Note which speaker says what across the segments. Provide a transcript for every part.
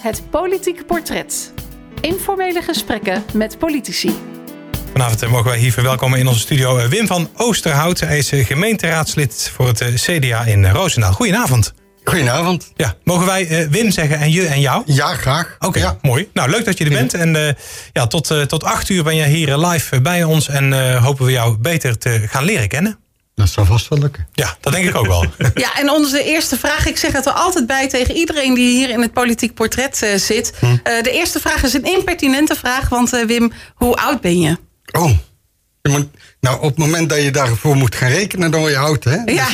Speaker 1: Het politieke portret. Informele gesprekken met politici.
Speaker 2: Vanavond eh, mogen wij hier verwelkomen in onze studio eh, Wim van Oosterhout. Hij is eh, gemeenteraadslid voor het eh, CDA in eh, Roosendaal. Goedenavond.
Speaker 3: Goedenavond.
Speaker 2: Ja, mogen wij eh, Wim zeggen en je en jou?
Speaker 3: Ja, graag.
Speaker 2: Oké,
Speaker 3: Ja.
Speaker 2: mooi. Nou, leuk dat je er bent. En eh, ja, tot, eh, tot acht uur ben jij hier eh, live eh, bij ons. En eh, hopen we jou beter te gaan leren kennen.
Speaker 3: Dat zal vast wel lukken.
Speaker 2: Ja, dat denk ik ook wel.
Speaker 4: Ja, en onze eerste vraag. Ik zeg het er altijd bij tegen iedereen die hier in het politiek portret eh, zit.
Speaker 3: Hm.
Speaker 4: Eh, de eerste vraag is een impertinente vraag. Want eh, Wim, hoe oud ben je?
Speaker 3: Oh. Je moet, nou, op het moment dat je daarvoor moet gaan rekenen, dan word je oud, hè? Dus, eh,
Speaker 4: Ja.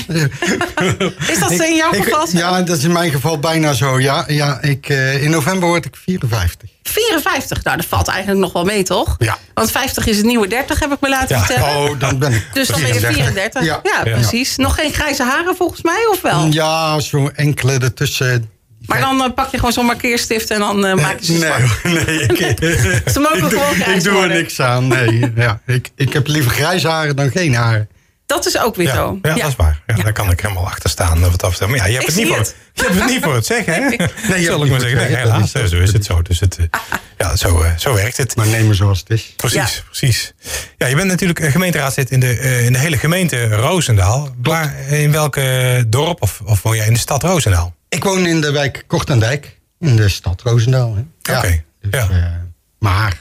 Speaker 4: Is dat in jouw
Speaker 3: Ik-
Speaker 4: geval? zo?
Speaker 3: Ja, dat is in mijn geval bijna zo. Ja, ja ik, eh, in november word ik 54.
Speaker 4: 54. Nou, dat valt eigenlijk nog wel mee, toch?
Speaker 3: Ja.
Speaker 4: Want 50 is het nieuwe 30, heb ik me laten
Speaker 2: Ja.
Speaker 4: vertellen.
Speaker 3: Oh, dan ben ik
Speaker 4: Dus dan ben je 34. Ja,
Speaker 3: Ja.
Speaker 4: precies. Nog geen grijze haren volgens mij, of wel?
Speaker 3: Ja, zo'n enkele ertussen.
Speaker 4: Maar dan eh, pak je gewoon zo'n markeerstift en dan eh, maak je ze zwart.
Speaker 3: Nee, nee. Ik,
Speaker 4: Ze mogen
Speaker 3: ik,
Speaker 4: gewoon
Speaker 3: doe,
Speaker 4: grijs
Speaker 3: ik doe er
Speaker 4: worden.
Speaker 3: niks aan. Nee, ja, ik, ik heb liever grijs haren dan geen haren.
Speaker 4: Dat is ook weer
Speaker 2: Ja,
Speaker 4: zo.
Speaker 2: ja, dat is waar. Ja, Daar kan ik helemaal achter staan. eh, Wat dat betreft. maar ja, je hebt,
Speaker 4: Ik
Speaker 2: het niet,
Speaker 4: zie
Speaker 2: voor het.
Speaker 4: het.
Speaker 2: je hebt het niet voor het zeggen, hè? Nee,
Speaker 3: hebt
Speaker 2: Zal ik
Speaker 3: niet
Speaker 2: maar
Speaker 3: voor
Speaker 2: zeggen. Nee,
Speaker 3: het zeggen,
Speaker 2: helaas,
Speaker 3: dat
Speaker 2: eh,
Speaker 3: is-
Speaker 2: zo is het zo. Dus het, eh, ja, zo, eh, zo werkt het.
Speaker 3: Maar neem me zoals het is.
Speaker 2: Precies, precies. Ja, je bent natuurlijk eh, gemeenteraadslid in de, eh, in de hele gemeente Roosendaal. Waar, in welk eh, dorp of, of woon jij in de stad Roosendaal?
Speaker 3: Ik woon in de wijk Kortendijk, in de stad Roosendaal. Hè?
Speaker 2: Oké, ja.
Speaker 3: eh, maar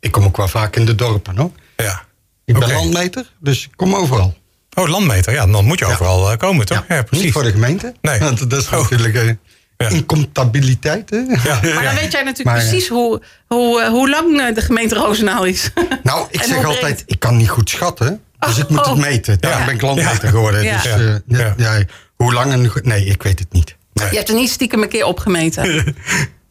Speaker 3: ik kom ook wel vaak in de dorpen hoor.
Speaker 2: Ja.
Speaker 3: Ik
Speaker 2: Oké.
Speaker 3: ben landmeter, dus ik kom overal.
Speaker 2: Oh, landmeter. Ja, dan moet je overal eh, komen, toch? Ja,
Speaker 3: Niet
Speaker 2: precies.
Speaker 3: voor de gemeente.
Speaker 2: Nee.
Speaker 3: Want dat is
Speaker 2: Oh.
Speaker 3: natuurlijk eh,
Speaker 2: Ja.
Speaker 3: incomptabiliteit. Hè?
Speaker 2: Ja.
Speaker 4: Maar dan weet jij natuurlijk
Speaker 3: Maar, eh,
Speaker 4: precies hoe, hoe, eh, hoe lang eh, de gemeente Roosendaal is.
Speaker 3: Nou, ik
Speaker 4: En
Speaker 3: zeg
Speaker 4: hoe
Speaker 3: altijd,
Speaker 4: breed?
Speaker 3: ik kan niet goed schatten. Dus
Speaker 4: Oh,
Speaker 3: ik moet het
Speaker 4: oh.
Speaker 3: meten. Daarom
Speaker 2: Ja.
Speaker 3: ben ik landmeter
Speaker 2: Ja.
Speaker 3: geworden.
Speaker 4: Ja.
Speaker 3: Dus
Speaker 2: Ja.
Speaker 3: eh, ja,
Speaker 2: Ja.
Speaker 3: ja, hoe lang en... goed- Nee, ik weet het niet.
Speaker 4: Je hebt er niet stiekem een keer opgemeten.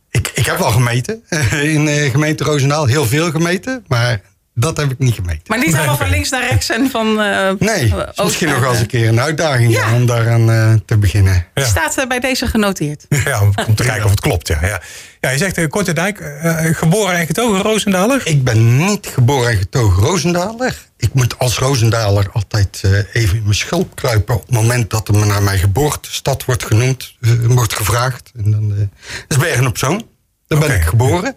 Speaker 3: Ik, ik heb wel gemeten. In eh, gemeente Roosendaal heel veel gemeten. Maar dat heb ik niet gemeten.
Speaker 4: Maar niet helemaal van links naar rechts en van. eh,
Speaker 3: Nee,
Speaker 4: eh, oost
Speaker 3: misschien nog
Speaker 4: naar,
Speaker 3: wel eens
Speaker 4: eh.
Speaker 3: een keer een uitdaging
Speaker 4: Ja.
Speaker 3: om daaraan eh, te beginnen.
Speaker 4: Die
Speaker 2: Ja.
Speaker 4: staat eh, bij deze genoteerd.
Speaker 2: Ja, om te kijken of het klopt. Ja, ja. ja je zegt eh, Korterdijk, eh, geboren en getogen Roosendaler.
Speaker 3: Ik ben niet geboren en getogen Roosendaler. Ik moet als Roosendaler altijd eh, even in mijn schulp kruipen... op het moment dat er me naar mijn geboortestad wordt genoemd, eh, wordt gevraagd. En dan, eh, dat is Bergen op Zoom. Daar
Speaker 2: Oké.
Speaker 3: ben ik geboren.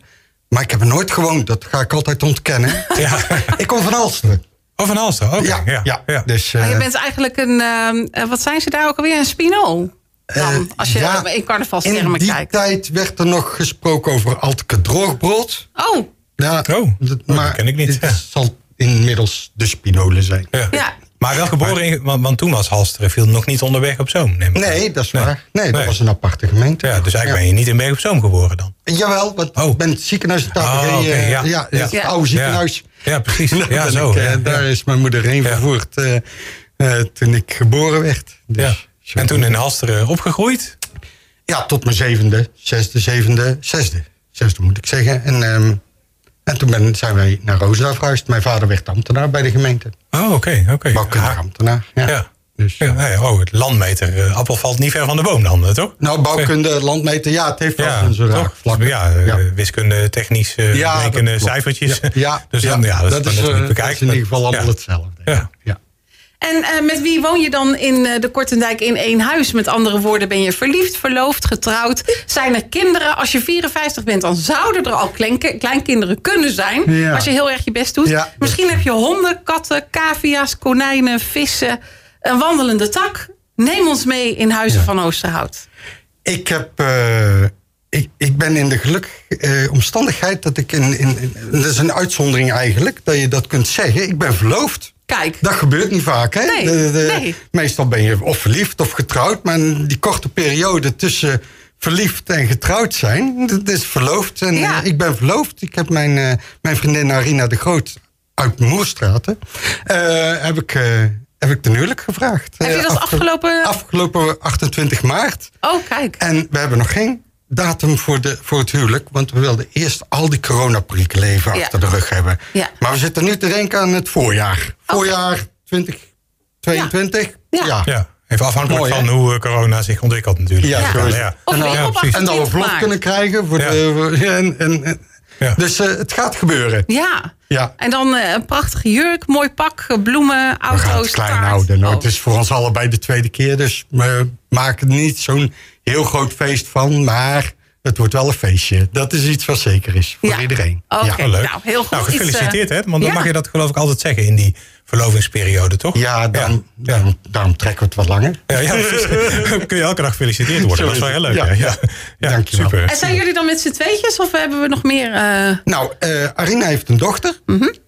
Speaker 3: Maar ik heb er nooit gewoond, dat ga ik altijd ontkennen.
Speaker 2: Ja.
Speaker 3: ik kom van Alsteren.
Speaker 2: Oh, van Alster. Oké.
Speaker 3: Ja, ja,
Speaker 2: ja, ja.
Speaker 3: Dus, eh,
Speaker 4: Maar je bent eigenlijk een. eh, eh, wat zijn ze daar ook alweer? Een spinol. Dan,
Speaker 3: eh,
Speaker 4: als je
Speaker 3: ja,
Speaker 4: in carnavalstermen
Speaker 3: In die
Speaker 4: kijkt.
Speaker 3: tijd werd er nog gesproken over Altke droogbrood.
Speaker 4: Oh,
Speaker 3: Ja,
Speaker 2: Oh, dat ken ik niet,
Speaker 3: Het
Speaker 2: ja.
Speaker 3: zal inmiddels de Spinolen zijn.
Speaker 2: Ja.
Speaker 4: ja.
Speaker 2: Maar wel geboren, in, want, want toen was Halsteren viel nog niet onderweg op Zoom. neem ik aan.
Speaker 3: Nee, dat is
Speaker 2: Nee.
Speaker 3: waar. Nee, dat
Speaker 2: Nee.
Speaker 3: was een aparte gemeente.
Speaker 2: Ja, dus eigenlijk ben je niet in Berg op Zoom geboren dan.
Speaker 3: Ja. Jawel, want
Speaker 2: Oh.
Speaker 3: ik ben het ziekenhuis. daar
Speaker 2: Oh,
Speaker 3: ben je,
Speaker 2: oké,
Speaker 3: eh,
Speaker 2: ja.
Speaker 3: ja.
Speaker 2: Ja.
Speaker 3: het oude ziekenhuis.
Speaker 2: Ja, precies.
Speaker 3: Daar
Speaker 2: Ja,
Speaker 3: ben
Speaker 2: zo.
Speaker 3: ik, eh,
Speaker 2: ja,
Speaker 3: daar
Speaker 2: ja.
Speaker 3: is mijn moeder heen
Speaker 2: Ja.
Speaker 3: vervoerd eh, eh, toen ik geboren werd. Dus,
Speaker 2: Ja.
Speaker 3: zo.
Speaker 2: En toen in Halsteren opgegroeid.
Speaker 3: Ja, tot mijn zevende, zesde, zevende, zesde. Zesde moet ik zeggen. En, ehm, en toen ben, zijn wij naar Roosendaal verhuisd. Mijn vader werd ambtenaar bij de gemeente.
Speaker 2: Oh, oké. oké.
Speaker 3: Bouwkundig
Speaker 2: Ah,
Speaker 3: ambtenaar. Ja.
Speaker 2: Ja.
Speaker 3: Dus,
Speaker 2: Ja, nou ja, oh, het landmeter. eh, Appel valt niet ver van de boom dan, eh, toch?
Speaker 3: Nou, bouwkunde, landmeter, ja, het heeft wel
Speaker 2: Ja,
Speaker 3: een zo'n raak
Speaker 2: toch?
Speaker 3: vlak.
Speaker 2: ja, eh,
Speaker 3: Ja.
Speaker 2: wiskunde, technisch, eh
Speaker 3: Ja, dat
Speaker 2: rekenen,
Speaker 3: klopt.
Speaker 2: cijfertjes.
Speaker 3: Ja, ja,
Speaker 2: dus dan, ja, dat, is,
Speaker 3: eh,
Speaker 2: natuurlijk
Speaker 3: dat
Speaker 2: bekijken.
Speaker 3: is in ieder geval allemaal
Speaker 2: Ja.
Speaker 3: hetzelfde.
Speaker 2: Ja.
Speaker 3: Ja.
Speaker 4: En eh, met wie woon je dan in eh, de Kortendijk in één huis? Met andere woorden, ben je verliefd, verloofd, getrouwd? Zijn er kinderen? Als je 54 bent, dan zouden er al klein- kleinkinderen kunnen zijn.
Speaker 3: Ja.
Speaker 4: Als je heel erg je best doet.
Speaker 3: Ja.
Speaker 4: Misschien heb je honden, katten, cavia's, konijnen, vissen. Een wandelende tak. Neem ons mee in Huizen van Oosterhout.
Speaker 3: Ik, heb, eh, ik, ik ben in de gelukkige eh, omstandigheid dat ik in, in, in- Dat is een uitzondering eigenlijk, dat je dat kunt zeggen. Ik ben verloofd.
Speaker 4: Kijk.
Speaker 3: Dat gebeurt niet vaak, hè?
Speaker 4: Nee, nee.
Speaker 3: Meestal ben je of verliefd of getrouwd. Maar die korte periode tussen verliefd en getrouwd zijn... dat is verloofd. En
Speaker 4: Ja.
Speaker 3: eh, ik ben verloofd. Ik heb mijn, eh, mijn vriendin Arina de Groot uit Moerstraten... eh, heb, ik, eh, heb ik ten huwelijk gevraagd.
Speaker 4: Heb je dat
Speaker 3: Eh, afge-
Speaker 4: afgelopen-
Speaker 3: Afgelopen 28 maart.
Speaker 4: Oh, kijk.
Speaker 3: En we hebben nog geen datum voor, de, voor het huwelijk. Want we wilden eerst al die coronaprikken even
Speaker 4: Ja.
Speaker 3: achter de rug hebben.
Speaker 4: Ja.
Speaker 3: Maar we zitten nu te denken aan het voorjaar. Voorjaar 2022.
Speaker 4: Ja. Ja.
Speaker 2: Ja, even afhankelijk
Speaker 3: Mooi,
Speaker 2: van
Speaker 3: hè?
Speaker 2: hoe eh, corona zich ontwikkelt natuurlijk.
Speaker 3: Ja,
Speaker 2: ja.
Speaker 3: zo is het.
Speaker 4: Of weer op
Speaker 2: precies.
Speaker 3: En dat we
Speaker 4: 28
Speaker 3: vlot
Speaker 4: maart.
Speaker 3: kunnen krijgen. Voor
Speaker 2: Ja.
Speaker 3: de, en, en, en-
Speaker 2: Ja.
Speaker 3: Dus eh, het gaat gebeuren.
Speaker 4: Ja.
Speaker 3: Ja.
Speaker 4: En dan eh, een prachtige jurk, mooi pak, eh, bloemen,
Speaker 3: We
Speaker 4: auto's,
Speaker 3: gaan het klein
Speaker 4: taart.
Speaker 3: houden. Nou,
Speaker 4: Oh.
Speaker 3: het is voor ons allebei de tweede keer. Dus we maken er niet zo'n heel groot feest van. Maar het wordt wel een feestje. Dat is iets wat zeker is voor
Speaker 4: Ja.
Speaker 3: iedereen.
Speaker 4: Oké,
Speaker 3: Ja.
Speaker 2: leuk.
Speaker 4: nou heel goed.
Speaker 2: Nou,
Speaker 4: Iets, eh,
Speaker 2: gefeliciteerd hè, want dan
Speaker 4: ja.
Speaker 2: mag je dat geloof ik altijd zeggen in die verlovingsperiode, toch?
Speaker 3: Ja, daarom,
Speaker 2: Ja.
Speaker 3: Daarom, daarom trekken we het wat langer.
Speaker 2: Ja, ja, precies. Dan kun je elke dag gefeliciteerd worden. Dat is wel heel leuk.
Speaker 3: Ja.
Speaker 2: hè? Ja, ja.
Speaker 3: Dankjewel.
Speaker 2: super.
Speaker 4: En zijn jullie dan met z'n tweetjes of hebben we nog meer? eh,
Speaker 3: Nou, eh Arina heeft een dochter.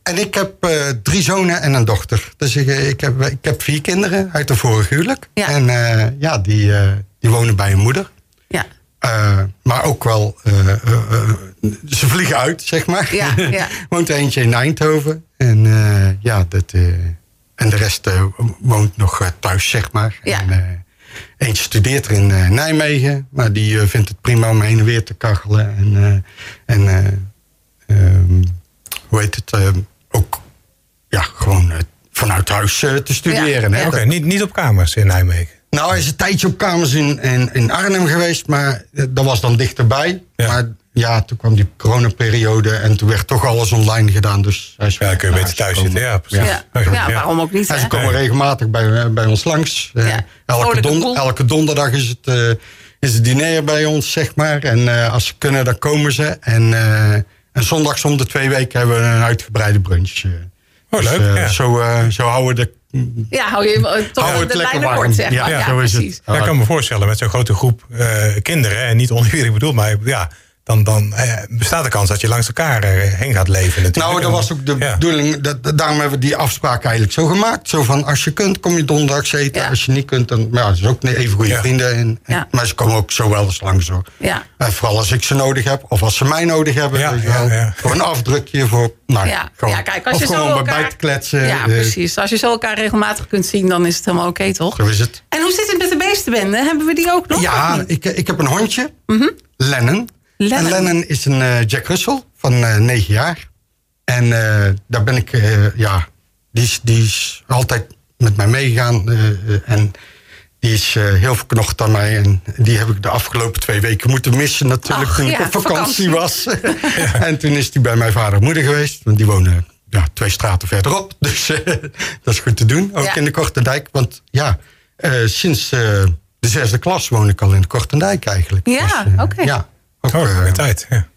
Speaker 3: En ik heb eh, drie zonen en een dochter. Dus ik, eh, ik, heb, ik heb vier kinderen uit een vorige huwelijk.
Speaker 4: Ja.
Speaker 3: En eh, ja, die, eh, die wonen bij hun moeder.
Speaker 4: ja.
Speaker 3: Eh, maar ook wel, eh, eh, eh, ze vliegen uit, zeg maar.
Speaker 4: Ja, ja.
Speaker 3: woont er eentje in Eindhoven. En, eh, ja, dat, eh, en de rest eh, woont nog eh, thuis, zeg maar.
Speaker 4: Ja.
Speaker 3: En, eh, eentje studeert er in eh, Nijmegen. Maar die eh, vindt het prima om heen en weer te kachelen. En, eh, en eh, ehm, hoe heet het? eh, ook ja, gewoon eh, vanuit huis eh, te studeren.
Speaker 4: Ja,
Speaker 3: hè?
Speaker 4: ja.
Speaker 2: Oké, niet, niet op kamers in Nijmegen.
Speaker 3: Nou, hij is een tijdje op kamers in, in, in Arnhem geweest, maar eh, dat was dan dichterbij.
Speaker 2: Ja.
Speaker 3: Maar ja, toen kwam die coronaperiode en toen werd toch alles online gedaan. Dus hij is
Speaker 2: Ja, dan kun je
Speaker 3: naar
Speaker 2: beter thuis
Speaker 3: gekomen.
Speaker 2: zitten. Ja, precies.
Speaker 4: Ja.
Speaker 2: Ja.
Speaker 4: Ja, waarom ook niet?
Speaker 3: En
Speaker 4: hè?
Speaker 3: ze komen regelmatig bij, bij ons langs. Eh,
Speaker 4: Ja.
Speaker 3: elke,
Speaker 4: Vrolijke
Speaker 3: don-
Speaker 4: boel.
Speaker 3: elke donderdag is het, eh, is het diner bij ons, zeg maar. En eh, als ze kunnen, dan komen ze. En, eh, en zondags om de twee weken hebben we een uitgebreide brunch. eh.
Speaker 2: Oh, leuk,
Speaker 3: eh,
Speaker 2: ja.
Speaker 3: zo, eh, zo houden we de,
Speaker 4: Ja, hou je eh, toch
Speaker 3: houden we
Speaker 4: de
Speaker 3: het lekker
Speaker 4: lijnen
Speaker 3: warm.
Speaker 4: kort, zeg maar.
Speaker 3: ja,
Speaker 4: Ja,
Speaker 3: zo is
Speaker 4: precies.
Speaker 3: het.
Speaker 2: Ja, ik kan me voorstellen met zo'n grote groep eh, kinderen. En niet oneerlijk bedoeld, maar ja, dan, dan eh, bestaat de kans dat je langs elkaar eh, heen gaat leven. Natuurlijk.
Speaker 3: Nou, dat was ook de
Speaker 2: Ja.
Speaker 3: bedoeling. Dat, dat- daarom hebben we die afspraak eigenlijk zo gemaakt. Zo van, als je kunt, kom je donderdags eten.
Speaker 4: Ja.
Speaker 3: Als je niet kunt, dan... Maar ja, dat is ook even goede
Speaker 2: Ja.
Speaker 3: vrienden. En, en-
Speaker 4: Ja.
Speaker 3: Maar ze komen ook zo wel eens langs, hoor.
Speaker 4: Ja.
Speaker 3: En vooral als ik ze nodig heb. Of als ze mij nodig hebben.
Speaker 2: Ja,
Speaker 3: weet je
Speaker 2: ja,
Speaker 3: wel.
Speaker 2: ja.
Speaker 3: Gewoon een afdrukje voor... Nou,
Speaker 4: Ja,
Speaker 3: gewoon,
Speaker 4: ja, kijk, als
Speaker 3: of
Speaker 4: je zo
Speaker 3: gewoon bij
Speaker 4: elkaar-
Speaker 3: bij te kletsen.
Speaker 4: Ja,
Speaker 3: eh,
Speaker 4: precies. Als je zo elkaar regelmatig kunt zien, dan is het helemaal oké, toch?
Speaker 3: Zo is het.
Speaker 4: En hoe zit het met de beestenbende? Hebben we die ook nog? of
Speaker 3: Ja,
Speaker 4: niet? Mhm.
Speaker 3: ik, ik heb een hondje. Lennon.
Speaker 4: Lennon.
Speaker 3: En Lennon is een eh, Jack Russell van eh, negen jaar. En eh, daar ben ik, eh, ja, die is, die is altijd met mij meegegaan. eh, eh, en die is eh, heel verknocht aan mij. En die heb ik de afgelopen twee weken moeten missen natuurlijk.
Speaker 4: Ach,
Speaker 3: toen ik
Speaker 4: ja,
Speaker 3: op vakantie,
Speaker 4: vakantie.
Speaker 3: was. en toen is die bij mijn vader en moeder geweest. Want die wonen ja, twee straten verderop. Dus eh, dat is goed te doen. Ook
Speaker 4: Ja.
Speaker 3: in de Kortendijk. Want ja, eh, sinds eh, de zesde klas woon ik al in de Kortendijk eigenlijk.
Speaker 4: Ja,
Speaker 3: eh,
Speaker 4: oké.
Speaker 3: Ja, ook,
Speaker 2: Oh,
Speaker 3: eh,
Speaker 2: mijn tijd. Ja.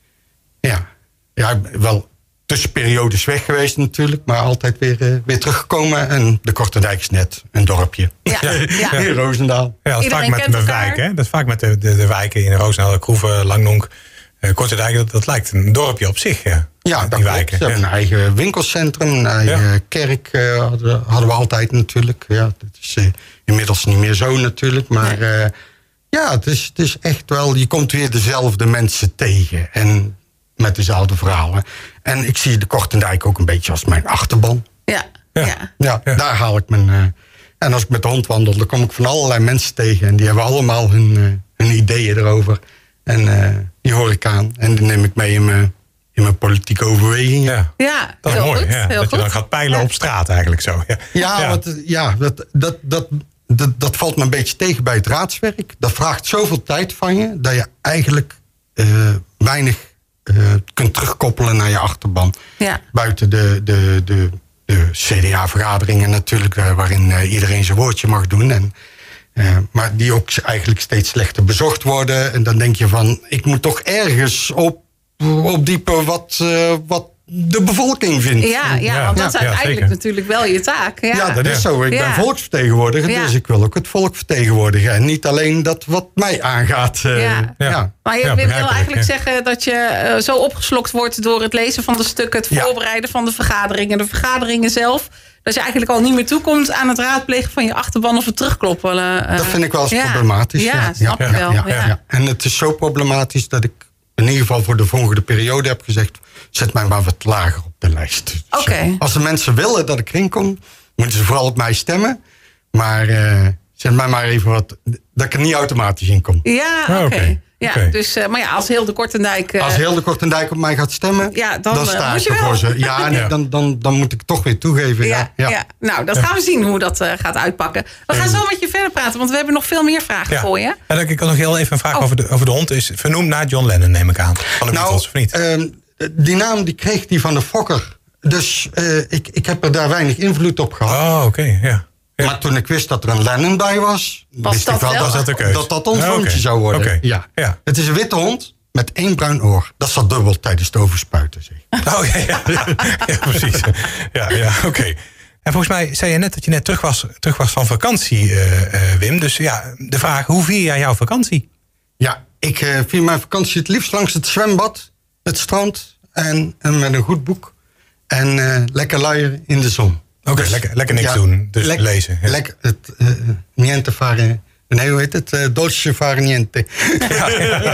Speaker 3: ja. ja, ik ben wel tussenperiodes weg geweest natuurlijk. Maar altijd weer, eh, weer teruggekomen. En de Kortendijk is net een dorpje.
Speaker 4: Ja, ja.
Speaker 3: In Roosendaal.
Speaker 2: Ja, dat is vaak
Speaker 4: Iedereen
Speaker 2: met
Speaker 4: kent
Speaker 2: de
Speaker 4: elkaar.
Speaker 2: wijk, hè? Dat is vaak met de, de, de wijken in Roosendaal, Kroeven, Langnonk, eh Kortendijk. Dat, dat lijkt een dorpje op zich, ja.
Speaker 3: Ja,
Speaker 2: die
Speaker 3: dat klopt. Ze
Speaker 2: wijken.
Speaker 3: hebben
Speaker 2: ja.
Speaker 3: een eigen winkelcentrum, een eigen
Speaker 2: Ja.
Speaker 3: kerk eh, hadden, hadden we altijd natuurlijk. Ja, dat is eh, inmiddels niet meer zo natuurlijk. Maar eh, ja, het is, het is echt wel, je komt weer dezelfde mensen tegen. En met dezelfde verhalen. En ik zie de Kortendijk ook een beetje als mijn achterban.
Speaker 4: Ja,
Speaker 2: Ja.
Speaker 4: ja.
Speaker 3: Ja,
Speaker 2: Ja.
Speaker 3: daar haal ik mijn... eh, en als ik met de hond wandel, dan kom ik van allerlei mensen tegen. En die hebben allemaal hun, eh, hun ideeën erover. En eh, die hoor ik aan. En die neem ik mee in mijn, in mijn politieke overwegingen.
Speaker 2: Ja.
Speaker 4: Ja,
Speaker 2: Dat is
Speaker 4: heel
Speaker 2: mooi,
Speaker 4: goed.
Speaker 2: ja.
Speaker 4: heel
Speaker 2: Dat je
Speaker 4: goed.
Speaker 2: dan gaat peilen
Speaker 4: Ja.
Speaker 2: op straat eigenlijk zo. Ja,
Speaker 3: Ja, Want, eh, ja dat, dat, dat, dat, dat valt me een beetje tegen bij het raadswerk. Dat vraagt zoveel tijd van je dat je eigenlijk eh, weinig eh, kunt terugkoppelen naar je achterban.
Speaker 4: Ja.
Speaker 3: Buiten de, de, de, de CDA-vergaderingen natuurlijk, eh, waarin eh, iedereen zijn woordje mag doen. En, eh, maar die ook eigenlijk steeds slechter bezocht worden. En dan denk je van, ik moet toch ergens op, opdiepen wat, eh, wat de bevolking vindt.
Speaker 4: Ja, ja, want dat
Speaker 2: Ja,
Speaker 4: is
Speaker 2: ja,
Speaker 4: uiteindelijk
Speaker 2: zeker.
Speaker 4: natuurlijk wel je taak. Ja,
Speaker 3: Ja, dat is zo. Ik
Speaker 4: Ja.
Speaker 3: ben volksvertegenwoordiger,
Speaker 4: Ja.
Speaker 3: dus ik wil ook het volk vertegenwoordigen. En niet alleen dat wat mij aangaat. eh,
Speaker 4: Ja.
Speaker 3: ja.
Speaker 2: Ja.
Speaker 4: Maar je
Speaker 2: Ja,
Speaker 4: wil
Speaker 2: begrijpelijk,
Speaker 4: eigenlijk
Speaker 2: ja.
Speaker 4: zeggen dat je eh, zo opgeslokt wordt door het lezen van de stukken, het
Speaker 3: Ja.
Speaker 4: voorbereiden van de vergaderingen, de vergaderingen zelf, dat je eigenlijk al niet meer toekomt aan het raadplegen van je achterban of het terugkloppen. eh,
Speaker 3: Dat vind ik wel eens
Speaker 4: ja.
Speaker 3: problematisch.
Speaker 4: Ja,
Speaker 3: ja.
Speaker 4: snap
Speaker 3: Ja,
Speaker 4: ik wel.
Speaker 3: ja,
Speaker 4: ja.
Speaker 3: ja. En het is zo problematisch dat ik in ieder geval voor de volgende periode heb gezegd... zet mij maar wat lager op de lijst. Dus,
Speaker 4: Oké.
Speaker 3: eh, Als de mensen willen dat ik erin kom, moeten ze vooral op mij stemmen. Maar eh, zet mij maar even wat... dat ik er niet automatisch in kom.
Speaker 4: Ja,
Speaker 2: Ah,
Speaker 4: oké.
Speaker 2: oké.
Speaker 4: Ja,
Speaker 2: Oké.
Speaker 4: dus, eh, maar ja, als heel de Kortendijk... eh,
Speaker 3: Als heel de Kortendijk op mij gaat stemmen,
Speaker 4: Ja, dan,
Speaker 3: dan,
Speaker 4: eh,
Speaker 3: sta
Speaker 4: moet
Speaker 3: ik
Speaker 4: je
Speaker 3: er
Speaker 4: wel.
Speaker 3: voor ze. Ja, nee,
Speaker 2: Ja.
Speaker 3: Dan, dan, dan moet ik toch weer toegeven.
Speaker 4: ja, ja. nou, dat gaan we zien hoe dat eh, gaat uitpakken. We gaan zo met je verder praten, want we hebben nog veel meer vragen
Speaker 2: Ja.
Speaker 4: voor je.
Speaker 2: En dan, ik kan nog heel even een vraag
Speaker 4: Oh.
Speaker 2: over, de, over de hond. Is vernoemd naar John Lennon, neem ik aan. Van de Beatles, of niet?
Speaker 3: ehm, die naam die kreeg die van de Fokker. Dus eh, ik, ik heb er daar weinig invloed op gehad.
Speaker 2: oh, oké, ja. ja.
Speaker 3: Maar toen ik wist dat er een Lennon bij was, wist
Speaker 4: dat
Speaker 3: ik wel
Speaker 4: wel?
Speaker 3: dat
Speaker 4: Was dat
Speaker 2: de keus?
Speaker 3: dat, dat ons
Speaker 2: Ja, oké.
Speaker 3: hondje zou worden.
Speaker 2: Oké.
Speaker 3: Ja.
Speaker 2: Ja.
Speaker 3: Het is een witte hond, met één bruin oor. Dat zat dubbel tijdens het overspuiten. Zeg.
Speaker 2: Oh ja, ja, ja, ja precies. Ja, ja oké. En volgens mij zei je net dat je net terug was, terug was van vakantie, eh, eh, Wim. Dus ja, de vraag, hoe vier jij jouw vakantie?
Speaker 3: Ja, ik eh, vier mijn vakantie het liefst langs het zwembad, het strand en, en met een goed boek. En eh, lekker luieren in de zon. Dus,
Speaker 2: Oké, lekker- lekker niks doen, dus
Speaker 3: lek-
Speaker 2: lezen, ja.
Speaker 3: Lekker het eh, niente fare. Nee, hoe heet het? Eh, dolce fare niente.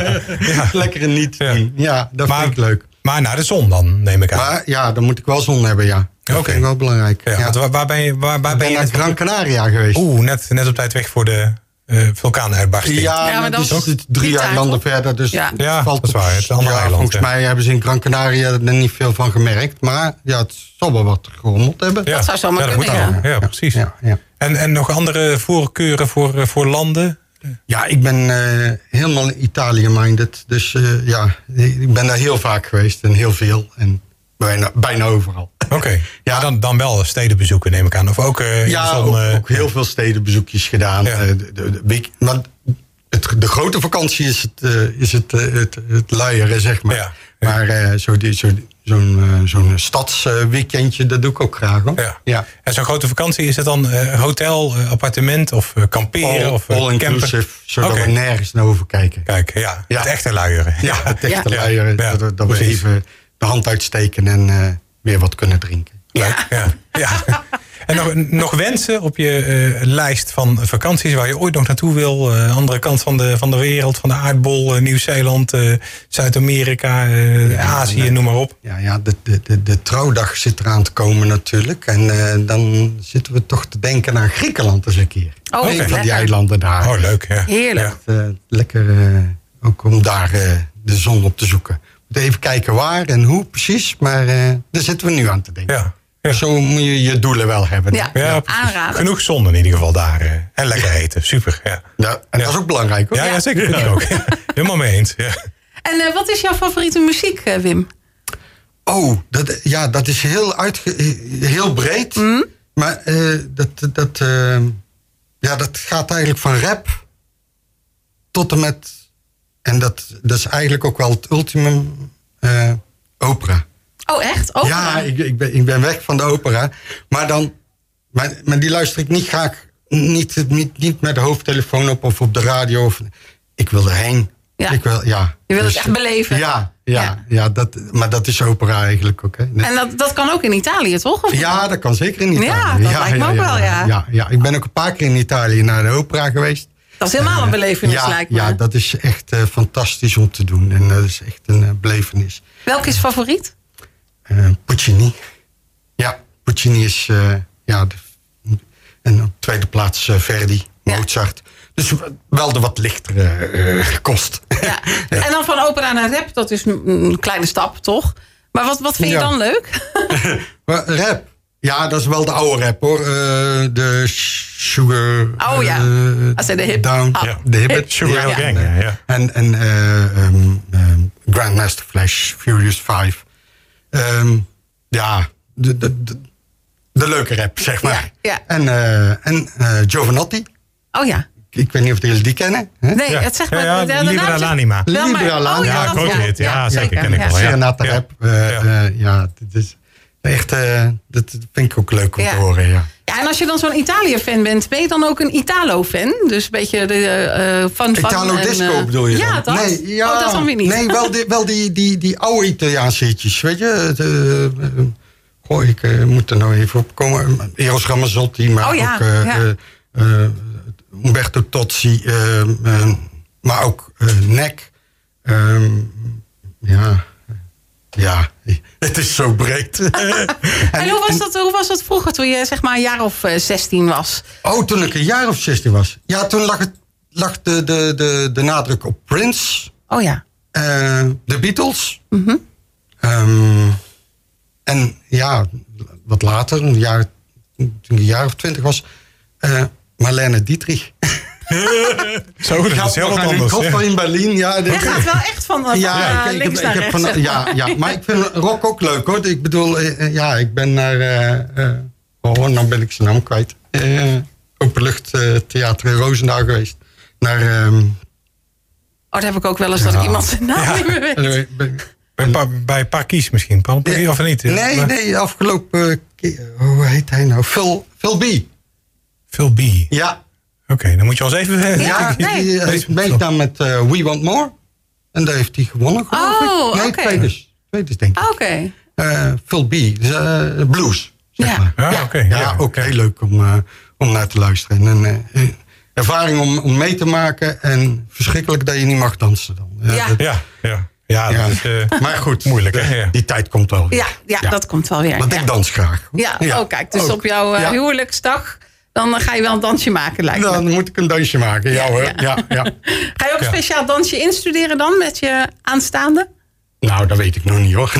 Speaker 3: lekker niet
Speaker 2: Ja.
Speaker 3: doen. Ja, dat
Speaker 2: Maar-
Speaker 3: vind ik leuk.
Speaker 2: Maar naar de zon dan, neem ik aan.
Speaker 3: Maar ja, dan moet ik wel zon hebben, ja. Dat
Speaker 2: Oké.
Speaker 3: vind ik wel belangrijk.
Speaker 2: ja,
Speaker 3: Ja.
Speaker 2: want waar, waar ben je, waar, waar
Speaker 3: Ik
Speaker 2: ben
Speaker 3: ben
Speaker 2: je
Speaker 3: naar
Speaker 2: net,
Speaker 3: Gran Canaria geweest.
Speaker 2: Oeh, net, net op tijd weg voor de eh vulkaanuitbarsting.
Speaker 3: Ja,
Speaker 4: Ja, maar
Speaker 3: maar
Speaker 4: dat
Speaker 3: dat is
Speaker 4: is
Speaker 3: ook drie
Speaker 4: niet uit,
Speaker 3: eilanden
Speaker 4: hoor.
Speaker 3: verder. Dus
Speaker 4: Ja.
Speaker 3: het
Speaker 2: Ja,
Speaker 3: valt
Speaker 2: dat is
Speaker 3: op-
Speaker 2: waar, het is allemaal
Speaker 3: ja,
Speaker 2: eiland,
Speaker 3: Volgens
Speaker 2: hè.
Speaker 3: mij hebben ze in Gran Canaria er niet veel van gemerkt. Maar ja, het zal wel wat gerommeld hebben.
Speaker 2: Ja,
Speaker 4: Dat zou zomaar
Speaker 2: ja, dat
Speaker 4: kunnen,
Speaker 2: moet
Speaker 4: ja.
Speaker 2: wel. Ja, precies.
Speaker 3: Ja, ja.
Speaker 2: En, en nog andere voorkeuren voor, eh, voor landen?
Speaker 3: Ja, ik ben eh, helemaal Italië-minded. Dus eh, ja, ik ben daar heel vaak geweest en heel veel. En bijna, bijna overal.
Speaker 2: Oké, ja. dan, dan wel steden bezoeken, neem ik aan. Of ook eh in
Speaker 3: Ja,
Speaker 2: de zon,
Speaker 3: ook,
Speaker 2: eh,
Speaker 3: ook heel veel stedenbezoekjes gedaan.
Speaker 2: Ja.
Speaker 3: Eh, de, de- de week- maar het, de grote vakantie is het, eh, is het, eh, het, het luieren, zeg maar.
Speaker 2: Ja, ja.
Speaker 3: Maar eh, zo, die- zo, zo'n eh, zo'n stadsweekendje, dat doe ik ook graag. Hoor.
Speaker 2: Ja. En zo'n grote vakantie, is het dan eh, hotel, eh, appartement of eh, kamperen?
Speaker 3: All,
Speaker 2: of eh,
Speaker 3: all inclusive,
Speaker 2: Oké,
Speaker 3: zodat we nergens naar hoeven kijken.
Speaker 2: kijk, ja,
Speaker 3: Ja.
Speaker 2: het echte luieren.
Speaker 3: Ja, het echte
Speaker 2: Ja.
Speaker 3: luieren.
Speaker 2: Ja,
Speaker 3: dat dat we
Speaker 2: precies.
Speaker 3: even de hand uitsteken en eh, weer wat kunnen drinken.
Speaker 2: Leuk, ja. ja. En nog, nog wensen op je eh, lijst van vakanties waar je ooit nog naartoe wil? Eh, andere kant van de, van de wereld, van de aardbol, eh, Nieuw-Zeeland, eh, Zuid-Amerika, eh, Azië,
Speaker 3: nee.
Speaker 2: noem maar op.
Speaker 3: Ja, ja de, de, de, de trouwdag zit eraan te komen natuurlijk. En eh, dan zitten we toch te denken aan Griekenland eens een keer.
Speaker 4: Oh,
Speaker 3: Een
Speaker 4: oké.
Speaker 3: van die
Speaker 4: lekker.
Speaker 3: eilanden daar.
Speaker 2: Oh, leuk. Ja.
Speaker 4: Heerlijk.
Speaker 2: Ja.
Speaker 3: Eh, lekker eh, ook om daar eh, de zon op te zoeken. Moet even kijken waar en hoe precies, maar eh, daar zitten we nu aan te denken.
Speaker 2: Ja. Ja.
Speaker 3: Zo moet je je doelen wel hebben. hè?
Speaker 4: Ja.
Speaker 2: Ja, precies.
Speaker 4: aanraden.
Speaker 2: Genoeg zon in ieder geval daar. eh. En lekker eten, super. Ja,
Speaker 3: Ja, en dat is ook belangrijk hoor.
Speaker 2: ja, ja zeker. Vind ik ook. Helemaal mee eens. Ja.
Speaker 4: En eh, wat is jouw favoriete muziek, eh, Wim?
Speaker 3: Oh, dat, ja, dat is heel, uitge, heel breed.
Speaker 4: Hmm?
Speaker 3: Maar eh, dat, dat, eh, ja, dat gaat eigenlijk van rap tot en met. En dat, dat is eigenlijk ook wel het ultimum eh, opera.
Speaker 4: Oh, echt? Oh,
Speaker 3: Ja, ik, ik, ben, ik ben weg van de opera. Maar, dan, maar, maar die luister ik niet graag. Niet, niet, niet met de hoofdtelefoon op of op de radio. Of, ik wil erheen.
Speaker 4: Ja.
Speaker 3: Ik wil, ja. Dus
Speaker 4: Je wil het echt beleven.
Speaker 3: Ja, ja,
Speaker 4: Ja.
Speaker 3: ja. dat, maar dat is opera eigenlijk ook. Hè. Dat-
Speaker 4: En dat, dat kan ook in Italië, toch? Of-
Speaker 3: ja, dat kan zeker in
Speaker 4: Ja,
Speaker 3: Italië.
Speaker 4: dat lijkt me ook wel, ja.
Speaker 3: ja. ja. ik ben ook een paar keer in Italië naar de opera geweest.
Speaker 4: Dat is helemaal een belevenis,
Speaker 3: Ja,
Speaker 4: lijkt me.
Speaker 3: ja, dat is echt eh, fantastisch om te doen. En dat is echt een eh, belevenis.
Speaker 4: Welke is favoriet?
Speaker 3: Eh, Puccini. Ja, Puccini is eh, ja, de, en op tweede plaats eh, Verdi,
Speaker 4: Ja.
Speaker 3: Mozart. Dus wel de wat lichtere eh, kost.
Speaker 4: Ja. En dan van opera naar rap, dat is een een kleine stap, toch? Maar wat, wat vind je
Speaker 3: Ja.
Speaker 4: dan leuk?
Speaker 3: Maar rap. Ja, dat is wel de oude rap hoor. Eh, de Sugar.
Speaker 4: Oh ja.
Speaker 3: eh,
Speaker 4: Als hij de hip-
Speaker 3: Down.
Speaker 4: Ah.
Speaker 2: Ja.
Speaker 3: De hip.
Speaker 2: Sugar Hill Gang, ja, ja.
Speaker 3: En, en eh, ehm, ehm, Grandmaster Flash, Furious 5. Ehm, ja, de, de, de, de leuke rap, zeg maar.
Speaker 4: Ja, ja.
Speaker 3: En, eh, en eh, Giovanotti.
Speaker 4: Oh ja.
Speaker 3: Ik weet niet of jullie die kennen. Hè?
Speaker 4: Nee,
Speaker 2: Ja.
Speaker 4: het zegt maar...
Speaker 2: Ja, ja,
Speaker 4: de- de naam
Speaker 2: Libera
Speaker 4: zegt-
Speaker 2: L'Anima.
Speaker 4: Wel, maar-
Speaker 3: Libera L'Anima.
Speaker 4: Oh,
Speaker 3: Ja,
Speaker 4: dat-
Speaker 2: grote hit. Ja, zeker, ken ik wel, ja.
Speaker 3: Zeer natte
Speaker 2: Ja.
Speaker 3: rap. eh,
Speaker 2: Ja.
Speaker 3: eh, ja, dit is echt, eh, dat dat vind ik ook leuk om
Speaker 4: Ja.
Speaker 3: te horen, ja.
Speaker 4: Ja, en als je dan zo'n Italië-fan bent, ben je dan ook een Italo-fan? Dus een beetje de, eh, van... van
Speaker 3: Italo
Speaker 4: en,
Speaker 3: Disco
Speaker 4: eh,
Speaker 3: bedoel je
Speaker 4: Ja,
Speaker 3: dan?
Speaker 4: dat.
Speaker 3: Nee, ja.
Speaker 4: Oh, dat dan weer niet.
Speaker 3: Nee, wel die, wel die, die, die oude Italiaanse hitjes, weet je. Het, eh, eh, goh, ik eh, moet er nou even op komen. Eros Ramazzotti, maar
Speaker 4: Oh ja,
Speaker 3: ook eh,
Speaker 4: ja.
Speaker 3: eh, eh, Umberto Tozzi, eh, eh, maar ook eh, Nek. Ehm, ja, ja, het is zo breed.
Speaker 4: En hoe was, dat, hoe was dat vroeger, toen je zeg maar een jaar of eh, 16 was?
Speaker 3: Oh, toen ik een jaar of 16 was. Ja, toen lag, het, lag de, de, de, de nadruk op Prince.
Speaker 4: Oh ja.
Speaker 3: Eh, de Beatles.
Speaker 4: Mhm.
Speaker 3: Ehm, en ja, wat later, een jaar, toen ik een jaar of twintig was, eh Marlene Dietrich.
Speaker 2: Zo, dat is heel wat
Speaker 3: nog aan hun
Speaker 2: anders.
Speaker 3: kop
Speaker 2: ja.
Speaker 3: van in Berlin. Ja,
Speaker 4: Jij gaat wel echt van, eh, van, eh,
Speaker 3: ik- ik
Speaker 4: links
Speaker 3: heb- ik
Speaker 4: naar
Speaker 3: heb
Speaker 4: rechts.
Speaker 3: van-
Speaker 4: zeg maar.
Speaker 3: ja, ja, maar ik vind rock ook leuk hoor. Ik bedoel, eh, eh, ja, ik ben naar. eh, eh, oh, nou ben ik zijn naam kwijt. Eh Openluchttheater in Roosendaal geweest. Naar ehm,
Speaker 4: dat Oh, heb ik ook wel eens dat ik iemand zijn naam niet meer weet.
Speaker 2: Bij, bij, bij Parkies misschien, Paul Parkies, of niet?
Speaker 3: Nee,
Speaker 2: Maar-
Speaker 3: nee, afgelopen eh, keer. Hoe heet hij nou? Phil, Phil B.
Speaker 2: Phil B. Oké,
Speaker 3: Ja.
Speaker 2: dan moet je ons even...
Speaker 3: Ja,
Speaker 4: nee.
Speaker 3: die eh, heeft meegedaan met eh, We Want More. En daar heeft hij gewonnen, geloof ik.
Speaker 4: Oh,
Speaker 3: Nee,
Speaker 4: oké.
Speaker 3: tweede is- tweede is dus, denk ik.
Speaker 4: Ah, Oké.
Speaker 3: Eh, Phil B. Dus, eh, blues, zeg
Speaker 4: Ja.
Speaker 3: maar.
Speaker 2: Ah, oké,
Speaker 3: ja,
Speaker 2: ja,
Speaker 3: ook
Speaker 2: oké.
Speaker 3: heel leuk om, eh, om naar te luisteren. En, eh, eh, ervaring om, om mee te maken. En verschrikkelijk dat je niet mag dansen dan. Eh,
Speaker 4: Ja.
Speaker 3: dat-
Speaker 2: Ja, ja. Ja,
Speaker 3: Ja.
Speaker 2: dat is... eh,
Speaker 3: Maar goed,
Speaker 2: Moeilijk,
Speaker 3: de-
Speaker 2: hè? Ja.
Speaker 3: die tijd komt wel weer.
Speaker 4: Ja, ja, dat komt wel weer.
Speaker 3: Want
Speaker 4: ja.
Speaker 3: ik dans graag.
Speaker 4: Ja, oh kijk, dus
Speaker 3: ook.
Speaker 4: op jouw eh,
Speaker 3: Ja.
Speaker 4: huwelijksdag, dan eh, ga je wel een dansje maken lijkt me.
Speaker 3: Dan moet ik een dansje maken, ja, hoor. Ja. Ja,
Speaker 4: Ga je ook een
Speaker 2: Ja.
Speaker 4: speciaal dansje instuderen dan met je aanstaande?
Speaker 3: Nou, dat weet ik nog niet hoor.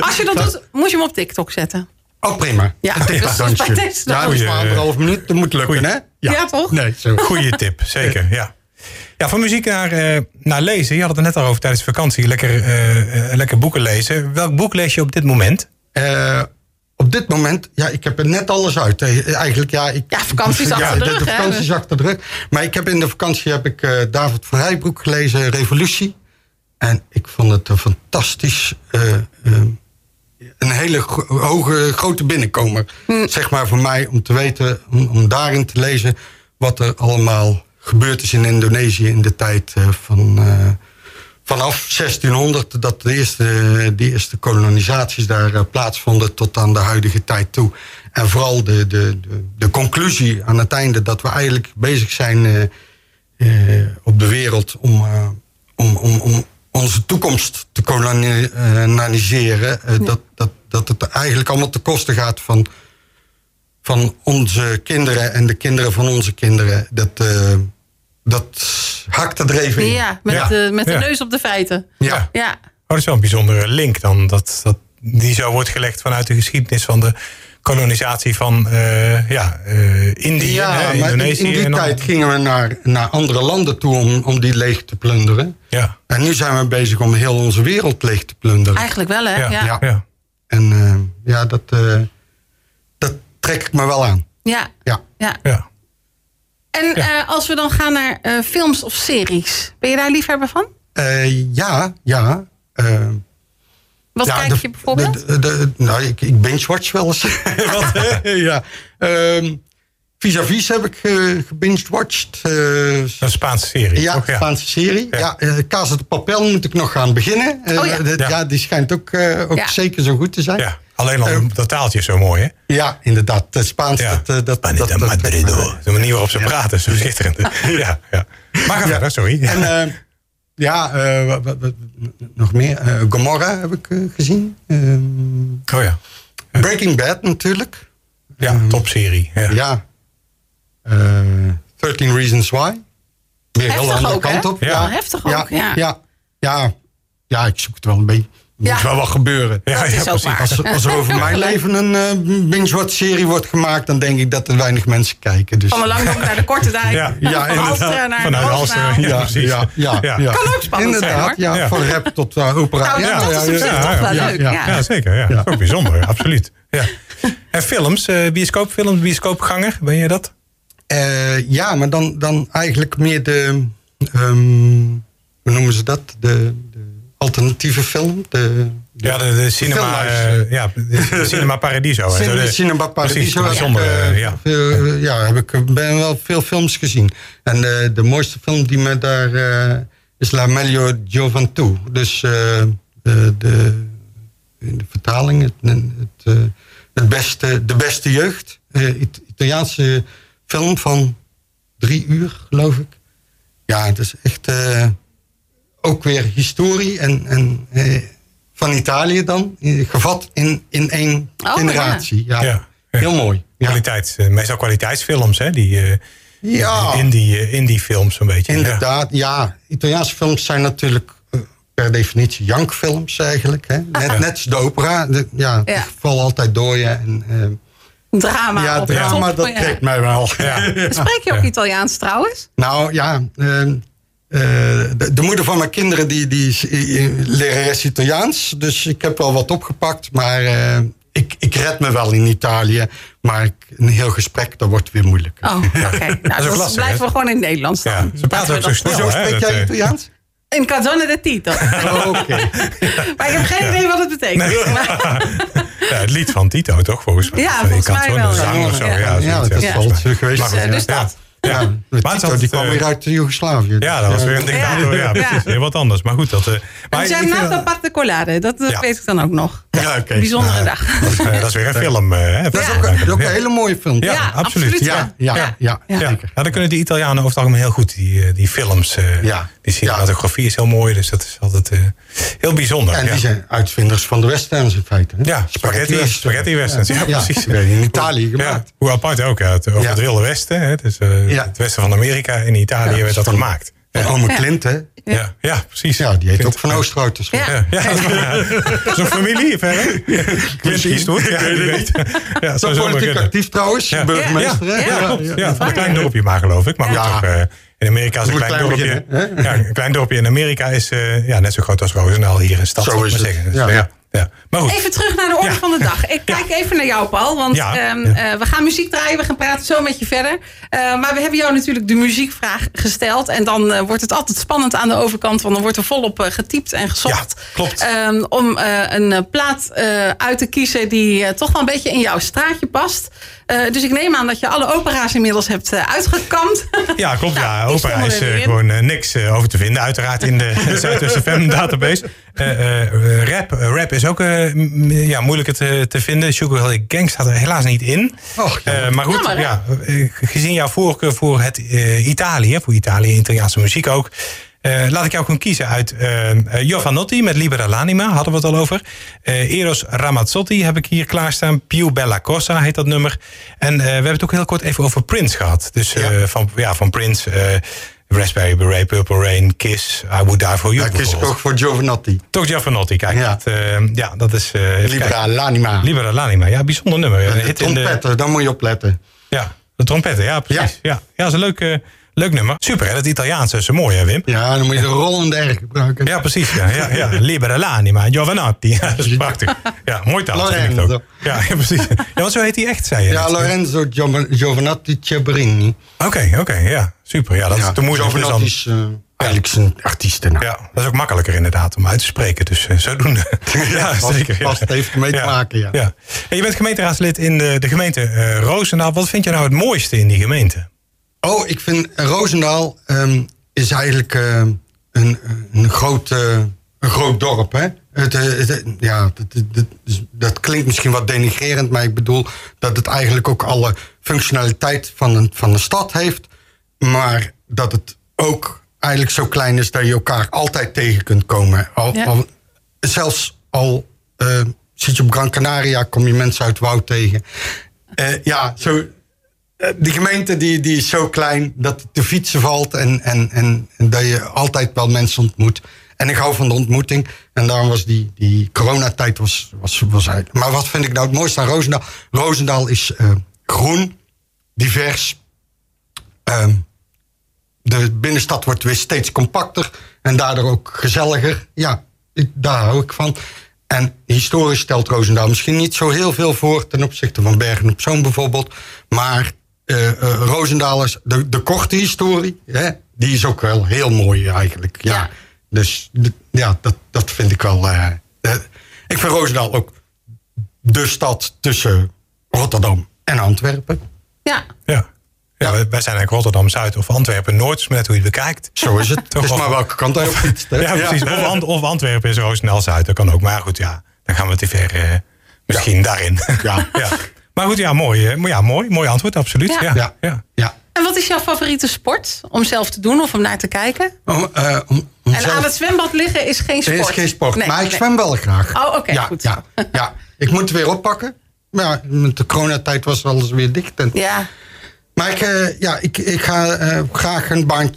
Speaker 4: Als je dat doet, moet je hem op TikTok zetten.
Speaker 3: Ook prima.
Speaker 4: Ja,
Speaker 3: Een
Speaker 4: dus
Speaker 3: TikTok-dansje.
Speaker 4: bij deze
Speaker 3: Ja, dat is
Speaker 2: goeie,
Speaker 3: maar anderhalf minuut, dat moet lukken,
Speaker 2: goeie.
Speaker 3: hè?
Speaker 4: Ja, toch?
Speaker 3: Nee, zo.
Speaker 2: Goeie tip, zeker. Ja. Ja, van muziek naar, eh, naar lezen. Je had het er net al over tijdens vakantie. Lekker, eh, eh, lekker boeken lezen. Welk boek lees je op dit moment?
Speaker 3: Eh, op dit moment, ja, ik heb er net alles uit. Eh, Eigenlijk, ja, ik,
Speaker 4: Ja, vakantie is achter
Speaker 3: de,
Speaker 4: de rug, hè? dus-
Speaker 3: vakantie is achter de rug. Maar ik heb in de vakantie heb ik eh, David van Rijbroek gelezen, Revolutie. En ik vond het een fantastisch, eh, eh, een hele gro- hoge, grote binnenkomer. Zeg maar voor mij, om te weten, om, om daarin te lezen wat er allemaal gebeurd is in Indonesië in de tijd eh, van... eh, vanaf 1600 dat de eerste, die eerste kolonisaties daar eh, plaatsvonden tot aan de huidige tijd toe. En vooral de, de, de, de conclusie aan het einde dat we eigenlijk bezig zijn eh, eh, op de wereld om, eh, om, om, om onze toekomst te koloniseren. eh, dat, dat, dat het eigenlijk allemaal te kosten gaat van, van onze kinderen en de kinderen van onze kinderen. Dat, eh, dat hakte er even in.
Speaker 4: Ja, met
Speaker 2: Ja.
Speaker 4: de, met de
Speaker 2: Ja.
Speaker 4: neus op de feiten.
Speaker 3: Ja.
Speaker 4: Ja,
Speaker 2: Oh, dat is wel een bijzondere link dan. Dat, dat die zo wordt gelegd vanuit de geschiedenis van de kolonisatie van eh, ja, eh, Indië,
Speaker 3: Ja,
Speaker 2: hè,
Speaker 3: maar in-
Speaker 2: Indonesië.
Speaker 3: in die
Speaker 2: en dan-
Speaker 3: tijd gingen we naar, naar andere landen toe om, om die leeg te plunderen.
Speaker 2: Ja,
Speaker 3: En nu zijn we bezig om heel onze wereld leeg te plunderen.
Speaker 4: eigenlijk wel hè.
Speaker 2: ja, ja.
Speaker 4: Ja, ja.
Speaker 2: ja.
Speaker 3: En eh, ja, dat, eh, dat trek ik me wel aan. Ja.
Speaker 2: ja.
Speaker 4: En eh, als we dan gaan naar eh, films of series, ben je daar liefhebber van?
Speaker 3: Eh, ja, ja. eh,
Speaker 4: Wat
Speaker 3: ja,
Speaker 4: kijk
Speaker 3: de-
Speaker 4: je bijvoorbeeld?
Speaker 3: de- de- de- nou, ik, ik binge-watch wel eens. Wat, hè? ja. Ehm, Vis-à-vis heb ik eh gebinge-watched. eh,
Speaker 2: Dat is een Spaanse serie.
Speaker 3: Ja,
Speaker 2: toch?
Speaker 3: Spaanse serie.
Speaker 2: Oh, Ja.
Speaker 3: Ja. eh, Casa de Papel moet ik nog gaan beginnen. Eh,
Speaker 4: Oh ja.
Speaker 3: dat-
Speaker 2: Ja.
Speaker 3: ja. die schijnt ook, eh, ook
Speaker 4: Ja.
Speaker 3: zeker zo goed te zijn. Ja,
Speaker 2: Ja, alleen al
Speaker 3: Eh,
Speaker 2: dat taaltje is zo mooi, hè?
Speaker 3: inderdaad. Het Spaans,
Speaker 2: Ja.
Speaker 3: dat, eh, dat, dat,
Speaker 2: Manita
Speaker 3: dat, dat-
Speaker 2: Madrid, hoor. De manier waarop ze praten is zo schitterend. Ja, ja. Maar ga verder, sorry.
Speaker 3: En eh, ja, eh, wat- wat- wat- nog meer. Eh, Gomorra heb ik eh, gezien. Ehm,
Speaker 2: Oh ja.
Speaker 3: Breaking Bad natuurlijk.
Speaker 2: Ja, topserie. Ja.
Speaker 3: Mm. Ja. Eh 13 Reasons Why. Weer
Speaker 4: Heftig
Speaker 3: heel andere
Speaker 4: ook,
Speaker 3: kant
Speaker 4: hè?
Speaker 3: op.
Speaker 2: Ja.
Speaker 4: Heftig ook, ja.
Speaker 3: ja. ja. Ja. Ja, ik zoek het wel een beetje. Er
Speaker 4: Ja.
Speaker 3: moet wel wat gebeuren.
Speaker 2: Ja,
Speaker 4: dat
Speaker 2: ja,
Speaker 4: is ook
Speaker 2: precies.
Speaker 4: waar.
Speaker 3: Als, als er over mijn leven een eh binge-watch-serie wordt gemaakt... dan denk ik dat er weinig mensen kijken. Dus,
Speaker 4: Van de Langdonk naar de Korte Dijk.
Speaker 2: Ja,
Speaker 4: van
Speaker 3: ja, inderdaad.
Speaker 4: Alsteren naar
Speaker 2: Vanuit
Speaker 4: de
Speaker 2: Alsteren,
Speaker 4: Roosendaal.
Speaker 2: ja. precies.
Speaker 3: Ja, ja,
Speaker 2: Ja.
Speaker 3: ja.
Speaker 4: Kan ook spannend zijn,
Speaker 3: Inderdaad,
Speaker 4: hoor.
Speaker 3: ja,
Speaker 2: Ja.
Speaker 3: Van rap tot eh, opera.
Speaker 4: Nou,
Speaker 3: ja,
Speaker 4: dat is op zich
Speaker 3: ja,
Speaker 4: toch wel
Speaker 2: ja,
Speaker 4: leuk.
Speaker 3: ja,
Speaker 4: Ja,
Speaker 2: Ja, zeker. Ja. Dat is ook bijzonder, absoluut. Ja. En films, eh, bioscoopfilms, bioscoopganger, ben je dat?
Speaker 3: Eh, ja, maar dan, dan eigenlijk meer de... ehm, hoe noemen ze dat? De, de alternatieve film. De, de-
Speaker 2: Ja, de, de cinema,
Speaker 3: filmhuis,
Speaker 2: eh, ja, de- de cinema Paradiso. hè. Zo
Speaker 3: Cin-
Speaker 2: de-
Speaker 3: Cinema Paradiso.
Speaker 2: Precies,
Speaker 3: heb ik,
Speaker 2: bijzonder,
Speaker 3: eh,
Speaker 2: eh, ja.
Speaker 3: veel- ja, heb ik eh, ben wel veel films gezien. En eh, de mooiste film die me daar eh, is La Melio Gioventù. Dus eh, eh, de, in de vertaling het, het, eh, het beste, de beste jeugd. Eh, It- Italiaanse film van drie uur, geloof ik. Ja, het is echt eh, ook weer historie en, en eh, van Italië dan, eh, gevat in, in één
Speaker 4: Oh, ja.
Speaker 3: generatie. Ja.
Speaker 2: Ja, ja.
Speaker 3: Heel mooi. Ja,
Speaker 2: Kwaliteits, eh, meestal kwaliteitsfilms, hè? Die eh,
Speaker 3: Ja.
Speaker 2: indie, eh, indie films een beetje.
Speaker 3: inderdaad. Ja, Italiaanse films zijn natuurlijk eh, per definitie jankfilms eigenlijk. Hè? Net, net als de opera. De- ja,
Speaker 4: Ja.
Speaker 3: Ik val altijd door je. En, eh,
Speaker 4: Drama
Speaker 3: ja,
Speaker 4: op
Speaker 3: drama,
Speaker 4: de top.
Speaker 3: dat
Speaker 4: Ja.
Speaker 3: trekt mij wel.
Speaker 2: Ja. Ja.
Speaker 4: Spreek je ook
Speaker 2: Ja.
Speaker 4: Italiaans trouwens?
Speaker 3: Nou ja, eh, eh, de, de moeder van mijn kinderen die, die is eh, eh, lerares Italiaans. Dus ik heb wel wat opgepakt. Maar eh, ik, ik red me wel in Italië. Maar ik- een heel gesprek, dat wordt weer moeilijk.
Speaker 4: Oh, oké. Nou,
Speaker 2: ook
Speaker 4: dan
Speaker 2: lastig,
Speaker 4: blijven
Speaker 2: hè?
Speaker 4: we gewoon in het Nederlands
Speaker 2: Ja,
Speaker 4: dan.
Speaker 2: ze praten
Speaker 4: Laten we
Speaker 2: ook zo snel.
Speaker 4: dat-
Speaker 3: Hoezo
Speaker 2: hè,
Speaker 3: spreek
Speaker 2: dat,
Speaker 3: jij
Speaker 2: eh,
Speaker 3: Italiaans?
Speaker 4: Een calzone de Tito.
Speaker 3: Oh, Oké.
Speaker 4: Maar ik heb geen idee wat het betekent. Maar-
Speaker 2: Ja, het lied van Tito, toch? Volgens mij.
Speaker 4: Ja,
Speaker 2: Je
Speaker 4: volgens
Speaker 2: kan
Speaker 4: mij
Speaker 2: het
Speaker 4: wel,
Speaker 2: een
Speaker 4: ja.
Speaker 2: zang of zo. Ja,
Speaker 3: Ja,
Speaker 2: zoiets, ja, volgens
Speaker 3: dat zal het
Speaker 2: mij.
Speaker 3: eh, geweest
Speaker 2: Maar goed,
Speaker 4: Dus, eh,
Speaker 3: zijn.
Speaker 4: dus
Speaker 2: ja.
Speaker 4: dat.
Speaker 2: Ja.
Speaker 3: Ja, met
Speaker 2: Maar het
Speaker 3: Tito,
Speaker 2: had,
Speaker 3: die kwam
Speaker 2: eh,
Speaker 3: weer uit Joegoslavië.
Speaker 2: Ja, dat was weer een dictator. Ja,
Speaker 4: Ja.
Speaker 2: precies. Heel wat anders. Maar goed, dat... eh, maar
Speaker 4: En
Speaker 2: ik
Speaker 4: zijn
Speaker 2: vind
Speaker 4: naam
Speaker 2: dat-
Speaker 4: aparte collade. Dat, dat
Speaker 2: Ja.
Speaker 4: weet ik dan ook nog.
Speaker 2: Ja, oké.
Speaker 4: Bijzondere
Speaker 2: Nou,
Speaker 4: dag.
Speaker 2: Dat is, eh, dat is weer een film. eh, hè,
Speaker 3: Dat is
Speaker 2: volgens
Speaker 3: ook,
Speaker 2: mij.
Speaker 3: dat is ook
Speaker 2: Ja.
Speaker 3: een hele mooie film.
Speaker 2: Ja,
Speaker 4: Ja,
Speaker 2: absoluut.
Speaker 4: absoluut,
Speaker 2: Ja.
Speaker 3: ja, ja, ja.
Speaker 4: Ja.
Speaker 2: Ja. Ja, dan kunnen die Italianen over het algemeen heel goed, die, eh, die films. eh,
Speaker 3: Ja.
Speaker 2: Die cinematografie is heel mooi, dus dat is altijd eh, heel bijzonder.
Speaker 3: En
Speaker 2: ja.
Speaker 3: die zijn uitvinders van de westerns in feite. hè?
Speaker 2: Ja, spaghetti,
Speaker 3: westerns.
Speaker 2: spaghetti westerns. Ja, precies.
Speaker 3: die werden In Italië
Speaker 2: Ja,
Speaker 3: gemaakt.
Speaker 2: hoe apart ook, ja, het, over
Speaker 3: Ja.
Speaker 2: het Wilde Westen. Hè, dus, eh,
Speaker 3: Ja.
Speaker 2: Het westen van Amerika en Italië werd dat gemaakt.
Speaker 3: En
Speaker 2: Ja,
Speaker 3: Ome Clint, hè?
Speaker 2: ja, ja, precies.
Speaker 3: Ja, die heet
Speaker 2: Clint-
Speaker 3: ook Van Oosterhout. dus
Speaker 4: Ja.
Speaker 2: Ja, ja, dat is een familie verder. Clint Eastwood, ja, wie weet. Ja,
Speaker 3: Zo
Speaker 2: zou zomaar
Speaker 3: politiek
Speaker 2: kunnen.
Speaker 3: actief trouwens,
Speaker 2: Ja.
Speaker 3: burgemeester.
Speaker 2: Ja,
Speaker 3: hè?
Speaker 2: ja, klopt. Ja, van een
Speaker 4: Ja.
Speaker 2: klein dorpje maar geloof ik. Maar goed,
Speaker 3: Ja.
Speaker 2: toch, eh, in Amerika is een
Speaker 3: Moet
Speaker 2: klein,
Speaker 3: klein
Speaker 2: dorpje.
Speaker 3: beginnen, hè?
Speaker 2: ja, een klein dorpje in Amerika is eh, ja, net zo groot als Roosendaal hier in stad.
Speaker 3: Zo
Speaker 2: zal ik
Speaker 3: is
Speaker 2: maar
Speaker 3: het.
Speaker 2: zeggen. Dus,
Speaker 3: Ja.
Speaker 2: ja. Ja, Maar goed.
Speaker 4: Even terug naar de orde
Speaker 2: Ja.
Speaker 4: van de dag. Ik kijk even naar jou, Paul. Want
Speaker 2: Ja.
Speaker 4: ehm,
Speaker 2: Ja.
Speaker 4: eh, we gaan muziek draaien. We gaan praten zo met je verder. Eh, maar we hebben jou natuurlijk de muziekvraag gesteld. En dan eh, wordt het altijd spannend aan de overkant. Want dan wordt er volop eh, getypt en gezocht.
Speaker 2: Ja, klopt.
Speaker 4: Ehm, om eh, een eh, plaat eh, uit te kiezen die eh, toch wel een beetje in jouw straatje past. Eh, dus ik neem aan dat je alle opera's inmiddels hebt eh, uitgekamd.
Speaker 2: Ja, klopt. ja,
Speaker 4: die
Speaker 2: opera
Speaker 4: stonden
Speaker 2: is
Speaker 4: Nou, er
Speaker 2: eh,
Speaker 4: weer in.
Speaker 2: gewoon eh, niks eh, over te vinden. Uiteraard in de Zuidwest FM database. Eh, eh, rap, eh, rap is ook eh, m- ja, moeilijker te, te vinden. Sugar Hill Gang staat er helaas niet in.
Speaker 3: Och, ja.
Speaker 2: Eh, maar goed,
Speaker 4: Jammer, hè?
Speaker 2: ja, eh, gezien jouw voorkeur voor het, eh, Italië, voor Italië, Italiaanse muziek ook. eh, laat ik jou gewoon kiezen uit eh, eh, Giovanotti met Libera L'Anima, hadden we het al over. Eh, Eros Ramazzotti heb ik hier klaarstaan. Più Bella Cosa heet dat nummer. En eh, we hebben het ook heel kort even over Prince gehad. Dus eh, van, ja, van Prince, eh, Raspberry Beret, Purple Rain, Kiss, I Would Die For You
Speaker 3: Dat is
Speaker 2: bijvoorbeeld.
Speaker 3: ook voor Giovanatti.
Speaker 2: Toch Giovanotti, kijk.
Speaker 3: Ja.
Speaker 2: Dat, eh, ja, dat is... eh, even kijken.
Speaker 3: Libera Lanima.
Speaker 2: Libera L'Anima, ja, bijzonder nummer. Een
Speaker 3: De
Speaker 2: hit in de-
Speaker 3: trompetter, daar moet je op letten.
Speaker 2: ja, de trompetten, ja, precies. Ja, ja. dat is een leuk, eh, leuk nummer. Super, hè? dat Italiaanse is mooi, hè, Wim?
Speaker 3: Ja, dan moet je de rollende R gebruiken.
Speaker 2: Ja, precies. Ja, ja, ja. Libera l'anima, Giovanotti. Ja, dat is prachtig. Ja, mooi taal. vind ik het ook. Ja, ja, precies. Ja, want zo heet hij echt, zei je.
Speaker 3: Ja,
Speaker 2: net.
Speaker 3: Lorenzo Giova- Giovanatti Ceberini.
Speaker 2: Oké, oké, ja. Super. Ja, dat is
Speaker 3: Ja,
Speaker 2: te moeilijk. Dus
Speaker 3: Giovanatti
Speaker 2: dan,
Speaker 3: is eh, eigenlijk zijn artiestennaam.
Speaker 2: ja, dat is ook makkelijker inderdaad om uit te spreken. Dus eh, zodoende. Ja,
Speaker 3: vast-
Speaker 2: zeker. ja.
Speaker 3: vast heeft ermee te maken, ja.
Speaker 2: En je bent gemeenteraadslid in de, de gemeente eh, Roosendaal. Wat vind je nou het mooiste in die gemeente?
Speaker 3: Oh, ik vind eh, Roosendaal ehm, is eigenlijk ehm, een, een, groot, eh, een groot dorp. Hè? Het, eh, het, eh, ja, dat- dat- dat is- dat klinkt misschien wat denigrerend, maar ik bedoel dat het eigenlijk ook alle functionaliteit van een, van de stad heeft. Maar dat het ook eigenlijk zo klein is dat je elkaar altijd tegen kunt komen. Al,
Speaker 4: Ja.
Speaker 3: al- zelfs al eh, zit je op Gran Canaria, kom je mensen uit Woud tegen. Eh, ja, zo, eh, die gemeente die, die is zo klein dat het te fietsen valt en, en, en, en dat je altijd wel mensen ontmoet. En ik hou van de ontmoeting. En daarom was die, die coronatijd was, was, was uit. Maar wat vind ik nou het mooiste aan Roosendaal? Roosendaal is eh, groen, divers. Ehm, de binnenstad wordt weer steeds compacter en daardoor ook gezelliger. Ja, ik- daar hou ik van. En historisch stelt Roosendaal misschien niet zo heel veel voor ten opzichte van Bergen op Zoom bijvoorbeeld. Maar eh eh, Roosendaal is de, de korte historie, hè, die is ook wel heel mooi eigenlijk. Ja.
Speaker 4: Ja.
Speaker 3: Dus d- ja, dat, dat vind ik wel. eh, eh, ik vind Roosendaal ook de stad tussen Rotterdam en Antwerpen.
Speaker 4: Ja.
Speaker 2: Ja. Ja, Wij, wij zijn eigenlijk Rotterdam Zuid of Antwerpen Noord, is maar net hoe je het bekijkt.
Speaker 3: Zo is het.
Speaker 2: Toch
Speaker 3: het is
Speaker 2: wel.
Speaker 3: maar welke kant hij op fietst. hè?
Speaker 2: Ja, precies. Of, Ant- of Antwerpen is Roosendaal Zuid, dat kan ook. Maar goed, ja, dan gaan we te ver eh, misschien daarin.
Speaker 3: Ja.
Speaker 2: ja. Maar goed, ja, mooi, eh, maar ja, mooi, mooi antwoord, absoluut. Ja.
Speaker 4: Ja.
Speaker 2: Ja.
Speaker 3: Ja. ja.
Speaker 4: En wat is jouw favoriete sport om zelf te doen of om naar te kijken?
Speaker 3: Om, eh, om, om
Speaker 4: En
Speaker 3: zelf-
Speaker 4: aan het zwembad liggen is geen
Speaker 3: Er
Speaker 4: sport.
Speaker 3: is geen sport,
Speaker 4: Nee,
Speaker 3: maar ik
Speaker 4: nee.
Speaker 3: zwem wel graag.
Speaker 4: Oh, oké,
Speaker 3: ja,
Speaker 4: goed.
Speaker 3: Ja, ja, ik moet het weer oppakken. Maar ja, met de coronatijd was alles weer dicht. En,
Speaker 4: Ja.
Speaker 3: Maar ik, eh, ja, ik, ik ga eh, graag een baantje...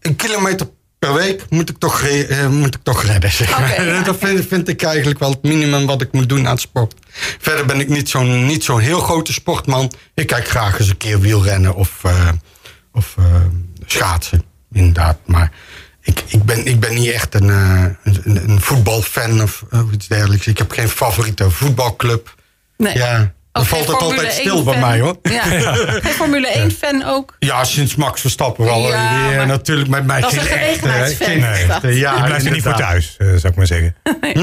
Speaker 3: Een kilometer per week moet ik toch, re- eh, moet ik toch redden, zeg maar.
Speaker 4: Oké, ja.
Speaker 3: Dat vind, vind ik eigenlijk wel het minimum wat ik moet doen aan sport. Verder ben ik niet zo'n niet zo'n heel grote sportman. Ik kijk graag eens een keer wielrennen of, eh, of eh, schaatsen, inderdaad. Maar ik, ik, ben, ik ben niet echt een, eh, een, een voetbalfan of, of iets dergelijks. Ik heb geen favoriete voetbalclub.
Speaker 4: Nee.
Speaker 3: Ja. Dan
Speaker 4: Ook
Speaker 3: valt
Speaker 4: Oh, geen
Speaker 3: het
Speaker 4: Formule
Speaker 3: altijd
Speaker 4: 1
Speaker 3: stil bij
Speaker 4: fan.
Speaker 3: mij hoor.
Speaker 4: Ja. Geen Formule 1 fan ook.
Speaker 3: Ja, sinds Max Verstappen wel.
Speaker 4: Ja,
Speaker 3: Ja,
Speaker 4: maar-
Speaker 3: natuurlijk met mij
Speaker 4: Dat is
Speaker 3: geen
Speaker 4: een
Speaker 3: echte. hè.
Speaker 4: gelegenheidsfan,
Speaker 3: Geen
Speaker 2: is
Speaker 3: echte. Ja,
Speaker 2: je blijft er niet voor
Speaker 3: inderdaad.
Speaker 2: thuis, eh, zou ik maar zeggen.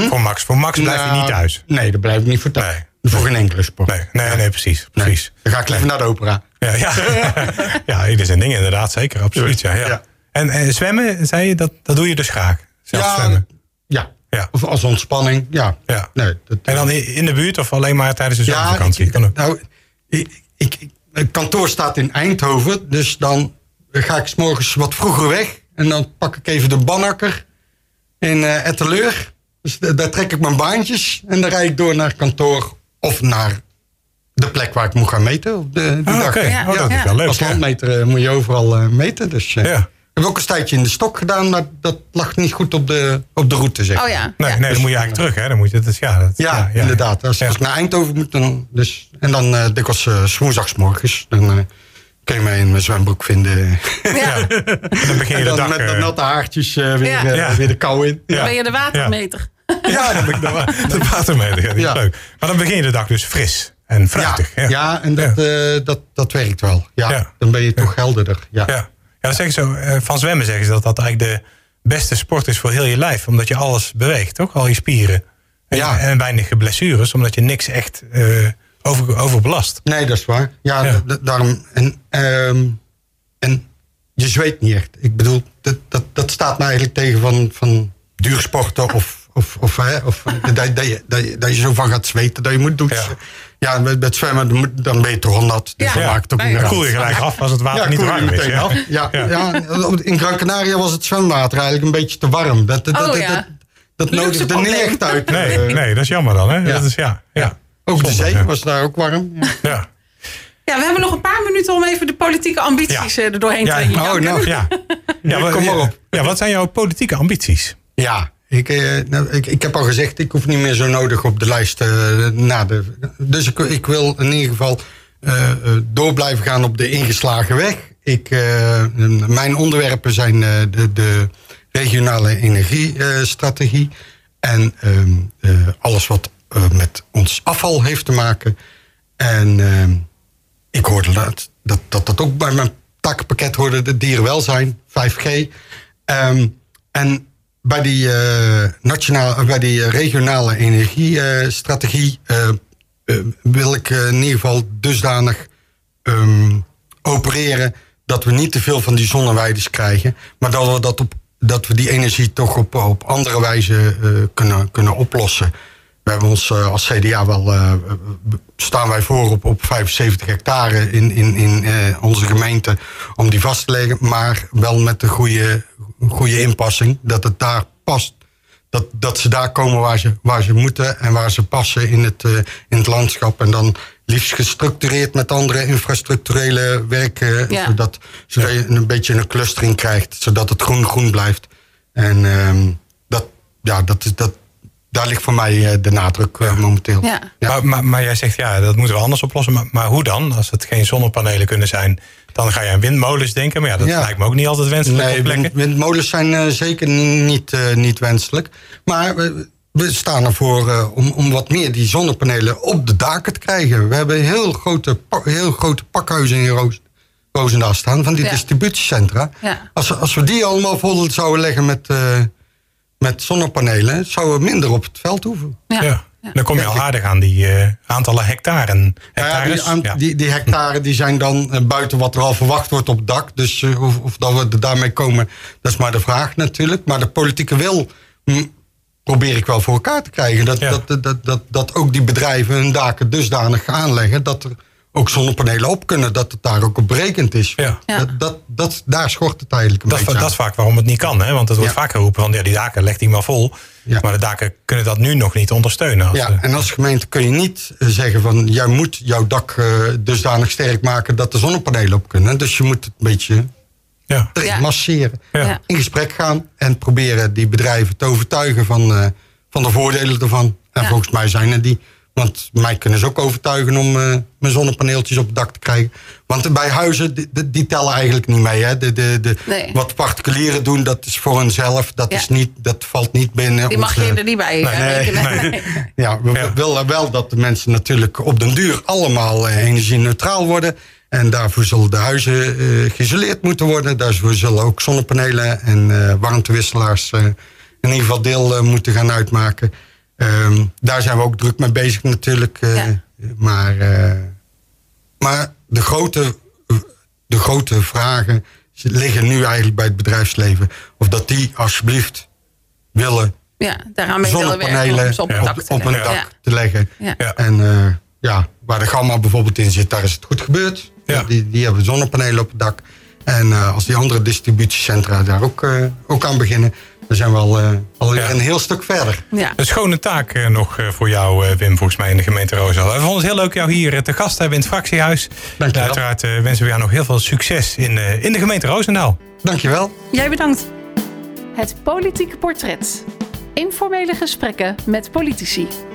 Speaker 2: Voor Max. Voor Max blijf je
Speaker 3: Nou,
Speaker 2: niet thuis.
Speaker 3: Nee, daar blijf ik niet voor thuis. Voor geen enkele sport.
Speaker 2: Nee, nee, nee precies.
Speaker 3: Nee.
Speaker 2: precies.
Speaker 3: Dan ga ik liever naar de opera.
Speaker 2: Ja, ja. ja, dit is een ding inderdaad, zeker. Absoluut, ja. ja.
Speaker 3: Ja.
Speaker 2: En, eh, zwemmen, zei je, dat, dat doe je dus graag. Zelf zwemmen.
Speaker 3: Ja.
Speaker 2: Ja.
Speaker 3: Of als ontspanning, ja.
Speaker 2: Ja.
Speaker 3: Nee, dat,
Speaker 2: En dan i- in de buurt of alleen maar tijdens de zomervakantie?
Speaker 3: ik-
Speaker 2: Kan ook.
Speaker 3: nou, ik, ik, ik- het kantoor staat in Eindhoven, dus dan ga ik 's morgens wat vroeger weg. En dan pak ik even de banakker in eh Etteleur. Dus da- daar trek ik mijn baantjes en dan rijd ik door naar het kantoor of naar de plek waar ik moet gaan meten. Op de, die
Speaker 2: Ah, Oké,
Speaker 3: dag.
Speaker 4: Ja.
Speaker 2: oh, dat is
Speaker 4: Ja.
Speaker 2: wel leuk.
Speaker 3: Als
Speaker 2: ja.
Speaker 3: landmeter eh, moet je overal eh, meten. Dus, eh,
Speaker 2: Ja.
Speaker 3: Ik heb ook eens een tijdje in de stok gedaan, maar dat lag niet goed op de, op de route. Zeg.
Speaker 4: Oh
Speaker 3: maar.
Speaker 4: ja.
Speaker 2: Nee,
Speaker 4: ja.
Speaker 2: nee, dan moet je eigenlijk terug, hè? Dan moet je, dat is, ja, dat,
Speaker 3: Ja, inderdaad. Als,
Speaker 2: Ja.
Speaker 3: als ik naar Eindhoven moet, dan. Dus, en dan eh dikwijls eh, 's woensdagsmorgens. Dan eh, kun je mij in mijn zwembroek vinden.
Speaker 4: Ja.
Speaker 2: En dan begin je
Speaker 3: en
Speaker 2: de
Speaker 3: dan
Speaker 2: dag...
Speaker 3: met de
Speaker 2: eh,
Speaker 3: natte haartjes eh, weer,
Speaker 4: Ja.
Speaker 3: eh,
Speaker 2: Ja.
Speaker 3: weer de kou in.
Speaker 2: Ja.
Speaker 4: Dan ben je de watermeter.
Speaker 2: Ja, dan ben ik de, wa- de watermeter. Ja, die is
Speaker 3: Ja.
Speaker 2: leuk. Maar dan begin je de dag dus fris en
Speaker 3: Ja,
Speaker 2: fruitig.
Speaker 3: ja. en dat, eh, dat, dat werkt wel. Ja,
Speaker 2: Ja.
Speaker 3: Dan ben je toch helderder. Ja.
Speaker 2: Ja, ja dat zeggen ze, eh, van zwemmen zeggen ze dat dat eigenlijk de beste sport is voor heel je lijf. Omdat je alles beweegt, toch? Al je spieren. En,
Speaker 3: Ja.
Speaker 2: en weinig blessures, omdat je niks echt eh, over, overbelast.
Speaker 3: Nee, dat is waar. Ja,
Speaker 2: Ja.
Speaker 3: d- d- daarom. En, ehm, en je zweet niet echt. Ik bedoel, dat, dat, dat staat me eigenlijk tegen van, van duursporten of. Of, of, hè, of dat, dat, je, dat, je, dat je zo van gaat zweten dat je moet douchen. Ja, en met, met zwemmen dan moet- dan ben je toch al nat. Dus
Speaker 4: Ja.
Speaker 3: dat
Speaker 4: Ja.
Speaker 3: maakt ook
Speaker 4: Nee,
Speaker 3: niet
Speaker 2: Dan
Speaker 3: uit.
Speaker 2: koel je gelijk af als het water
Speaker 3: Ja,
Speaker 2: niet
Speaker 3: koel je
Speaker 2: warm is.
Speaker 3: meteen
Speaker 2: Ja.
Speaker 3: af. Ja,
Speaker 2: Ja.
Speaker 3: ja. in Gran Canaria was het zwemwater eigenlijk een beetje te warm. Dat, dat,
Speaker 4: Oh,
Speaker 3: dat,
Speaker 4: ja.
Speaker 3: dat, dat
Speaker 4: Luxe
Speaker 3: nodigde
Speaker 4: probleem.
Speaker 3: niet echt uit.
Speaker 2: Nee,
Speaker 3: Eh,
Speaker 2: nee, dat is jammer dan. Hè?
Speaker 3: Ja.
Speaker 2: Dat is, ja, ja.
Speaker 3: Ook de
Speaker 2: Zonde,
Speaker 3: zee
Speaker 2: ja.
Speaker 3: was daar ook warm. Ja.
Speaker 2: Ja.
Speaker 4: Ja, we hebben nog een paar minuten om even de politieke ambities
Speaker 2: Ja.
Speaker 4: eh, er doorheen
Speaker 2: Ja.
Speaker 4: te jagen.
Speaker 3: Oh, nou.
Speaker 2: Ja. Ja, wat,
Speaker 3: kom maar op.
Speaker 2: Ja, wat zijn jouw politieke ambities?
Speaker 3: Ja, ik, eh, nou, ik, ik heb al gezegd, ik hoef niet meer zo nodig op de lijst. eh, na de, dus ik, ik wil in ieder geval eh, eh, door blijven gaan op de ingeslagen weg. Ik, eh, mijn onderwerpen zijn eh, de, de regionale energiestrategie en ehm, eh, alles wat eh, met ons afval heeft te maken. En ehm, ik hoorde laat dat, dat dat ook bij mijn takpakket hoorde, de dierenwelzijn, 5G. Ehm, en bij die, eh, nationale, bij die eh, regionale energiestrategie eh, wil ik eh, in ieder geval dusdanig ehm, opereren dat we niet te veel van die zonneweides krijgen, maar dat we, dat op, dat we die energie toch op, op andere wijze eh, kunnen, kunnen oplossen. We hebben ons eh, als CDA wel, eh, eh, staan wij voor op, op 75 hectare in, in, in eh, onze gemeente om die vast te leggen, maar wel met de goede, goede inpassing, dat het daar past. Dat, dat ze daar komen waar ze, waar ze moeten en waar ze passen in het, eh, in het landschap. En dan liefst gestructureerd met andere infrastructurele werken.
Speaker 4: Ja.
Speaker 3: Zodat, zodat je een beetje een clustering krijgt. Zodat het groen-groen blijft. En ehm, dat, ja, dat is, dat, daar ligt voor mij eh, de nadruk eh, momenteel.
Speaker 4: Ja.
Speaker 2: Maar, maar, maar jij zegt, ja, dat moeten we anders oplossen. Maar, maar hoe dan? Als het geen zonnepanelen kunnen zijn, dan ga je aan windmolens denken. Maar ja, dat
Speaker 3: Ja.
Speaker 2: lijkt me ook niet altijd wenselijk op
Speaker 3: Nee,
Speaker 2: plekken.
Speaker 3: wind- windmolens zijn eh, zeker niet, eh, niet wenselijk. Maar we, we staan ervoor eh, om, om wat meer die zonnepanelen op de daken te krijgen. We hebben heel grote, pa- heel grote pakhuizen in Roos, Roosendaal staan van die
Speaker 4: Ja.
Speaker 3: distributiecentra.
Speaker 4: Ja.
Speaker 3: Als, we- als we die allemaal vol zouden leggen met, eh, met zonnepanelen, zouden we minder op het veld hoeven.
Speaker 4: Ja.
Speaker 2: Ja.
Speaker 4: Ja.
Speaker 2: Dan kom je al aardig aan die eh, aantallen hectaren.
Speaker 3: Nou ja,
Speaker 2: Hectares.
Speaker 3: die, aan-
Speaker 2: Ja.
Speaker 3: die, die hectare die zijn dan eh, buiten wat er al verwacht wordt op het dak. Dus eh, of, of dat we er daarmee komen, dat is maar de vraag natuurlijk. Maar de politieke wil hm, probeer ik wel voor elkaar te krijgen. Dat,
Speaker 2: Ja.
Speaker 3: dat, dat, dat, dat, dat ook die bedrijven hun daken dusdanig aanleggen... dat er ook zonnepanelen op kunnen, dat het daar ook op berekend is.
Speaker 2: Ja.
Speaker 4: Ja.
Speaker 3: Dat, dat, dat, daar schort het eigenlijk een
Speaker 2: Dat, is-
Speaker 3: beetje
Speaker 2: dat
Speaker 3: aan.
Speaker 2: is vaak waarom het niet kan. Hè? Want het wordt
Speaker 3: Ja.
Speaker 2: vaak geroepen van ja, die daken legt hij maar vol.
Speaker 3: Ja.
Speaker 2: Maar de daken kunnen dat nu nog niet ondersteunen. Als,
Speaker 3: Ja,
Speaker 2: eh,
Speaker 3: en als gemeente kun je niet eh, zeggen van... jij moet jouw dak eh, dusdanig sterk maken dat er zonnepanelen op kunnen. Dus je moet het een beetje
Speaker 2: ja.
Speaker 3: erin
Speaker 4: Ja.
Speaker 3: masseren.
Speaker 2: Ja.
Speaker 3: In gesprek gaan en proberen die bedrijven te overtuigen van, eh, van de voordelen ervan. En
Speaker 4: Ja.
Speaker 3: volgens mij zijn er die Want mij kunnen ze ook overtuigen om eh, mijn zonnepaneeltjes op het dak te krijgen. Want bij huizen, die, die- die tellen eigenlijk niet mee. Hè? De, de, de,
Speaker 4: Nee.
Speaker 3: Wat particulieren doen, dat is voor hunzelf. Dat,
Speaker 4: Ja.
Speaker 3: is niet, dat valt niet binnen.
Speaker 4: Die mag
Speaker 3: onze-
Speaker 4: je er niet bij eh,
Speaker 3: nee,
Speaker 4: rekenen.
Speaker 2: nee.
Speaker 3: ja, we
Speaker 2: Ja.
Speaker 3: willen wel dat de mensen natuurlijk op den duur allemaal eh, energie-neutraal worden. En daarvoor zullen de huizen eh, geïsoleerd moeten worden. Daarvoor zullen ook zonnepanelen en eh, warmtewisselaars eh, in ieder geval deel eh, moeten gaan uitmaken. Ehm, daar zijn we ook druk mee bezig natuurlijk. eh,
Speaker 4: Ja.
Speaker 3: Maar, eh, maar de, grote, de grote vragen liggen nu eigenlijk bij het bedrijfsleven. Of dat die alsjeblieft willen
Speaker 4: Ja, daaraan ben je wel werken om
Speaker 3: zonnepanelen
Speaker 4: ze op
Speaker 3: op,
Speaker 4: het dak te
Speaker 3: op een
Speaker 4: leggen.
Speaker 3: dak
Speaker 4: Ja.
Speaker 3: te leggen.
Speaker 4: Ja.
Speaker 2: Ja.
Speaker 3: En eh, ja, waar de gamma bijvoorbeeld in zit, daar is het goed gebeurd.
Speaker 2: Ja.
Speaker 3: Die, die hebben zonnepanelen op het dak. En eh, als die andere distributiecentra daar ook, eh, ook aan beginnen, dan zijn we al, eh, al
Speaker 2: Ja.
Speaker 3: een heel stuk verder.
Speaker 4: Ja.
Speaker 2: Een schone taak eh, nog eh, voor jou, eh, Wim, volgens mij in de gemeente Roosendaal. We vonden het heel leuk jou hier eh, te gast te hebben in het fractiehuis.
Speaker 3: Dank je wel.
Speaker 2: Uiteraard eh, wensen we jou nog heel veel succes in, eh, in de gemeente Roosendaal.
Speaker 3: Dankjewel.
Speaker 4: Jij bedankt.
Speaker 1: Het politieke portret. Informele gesprekken met politici.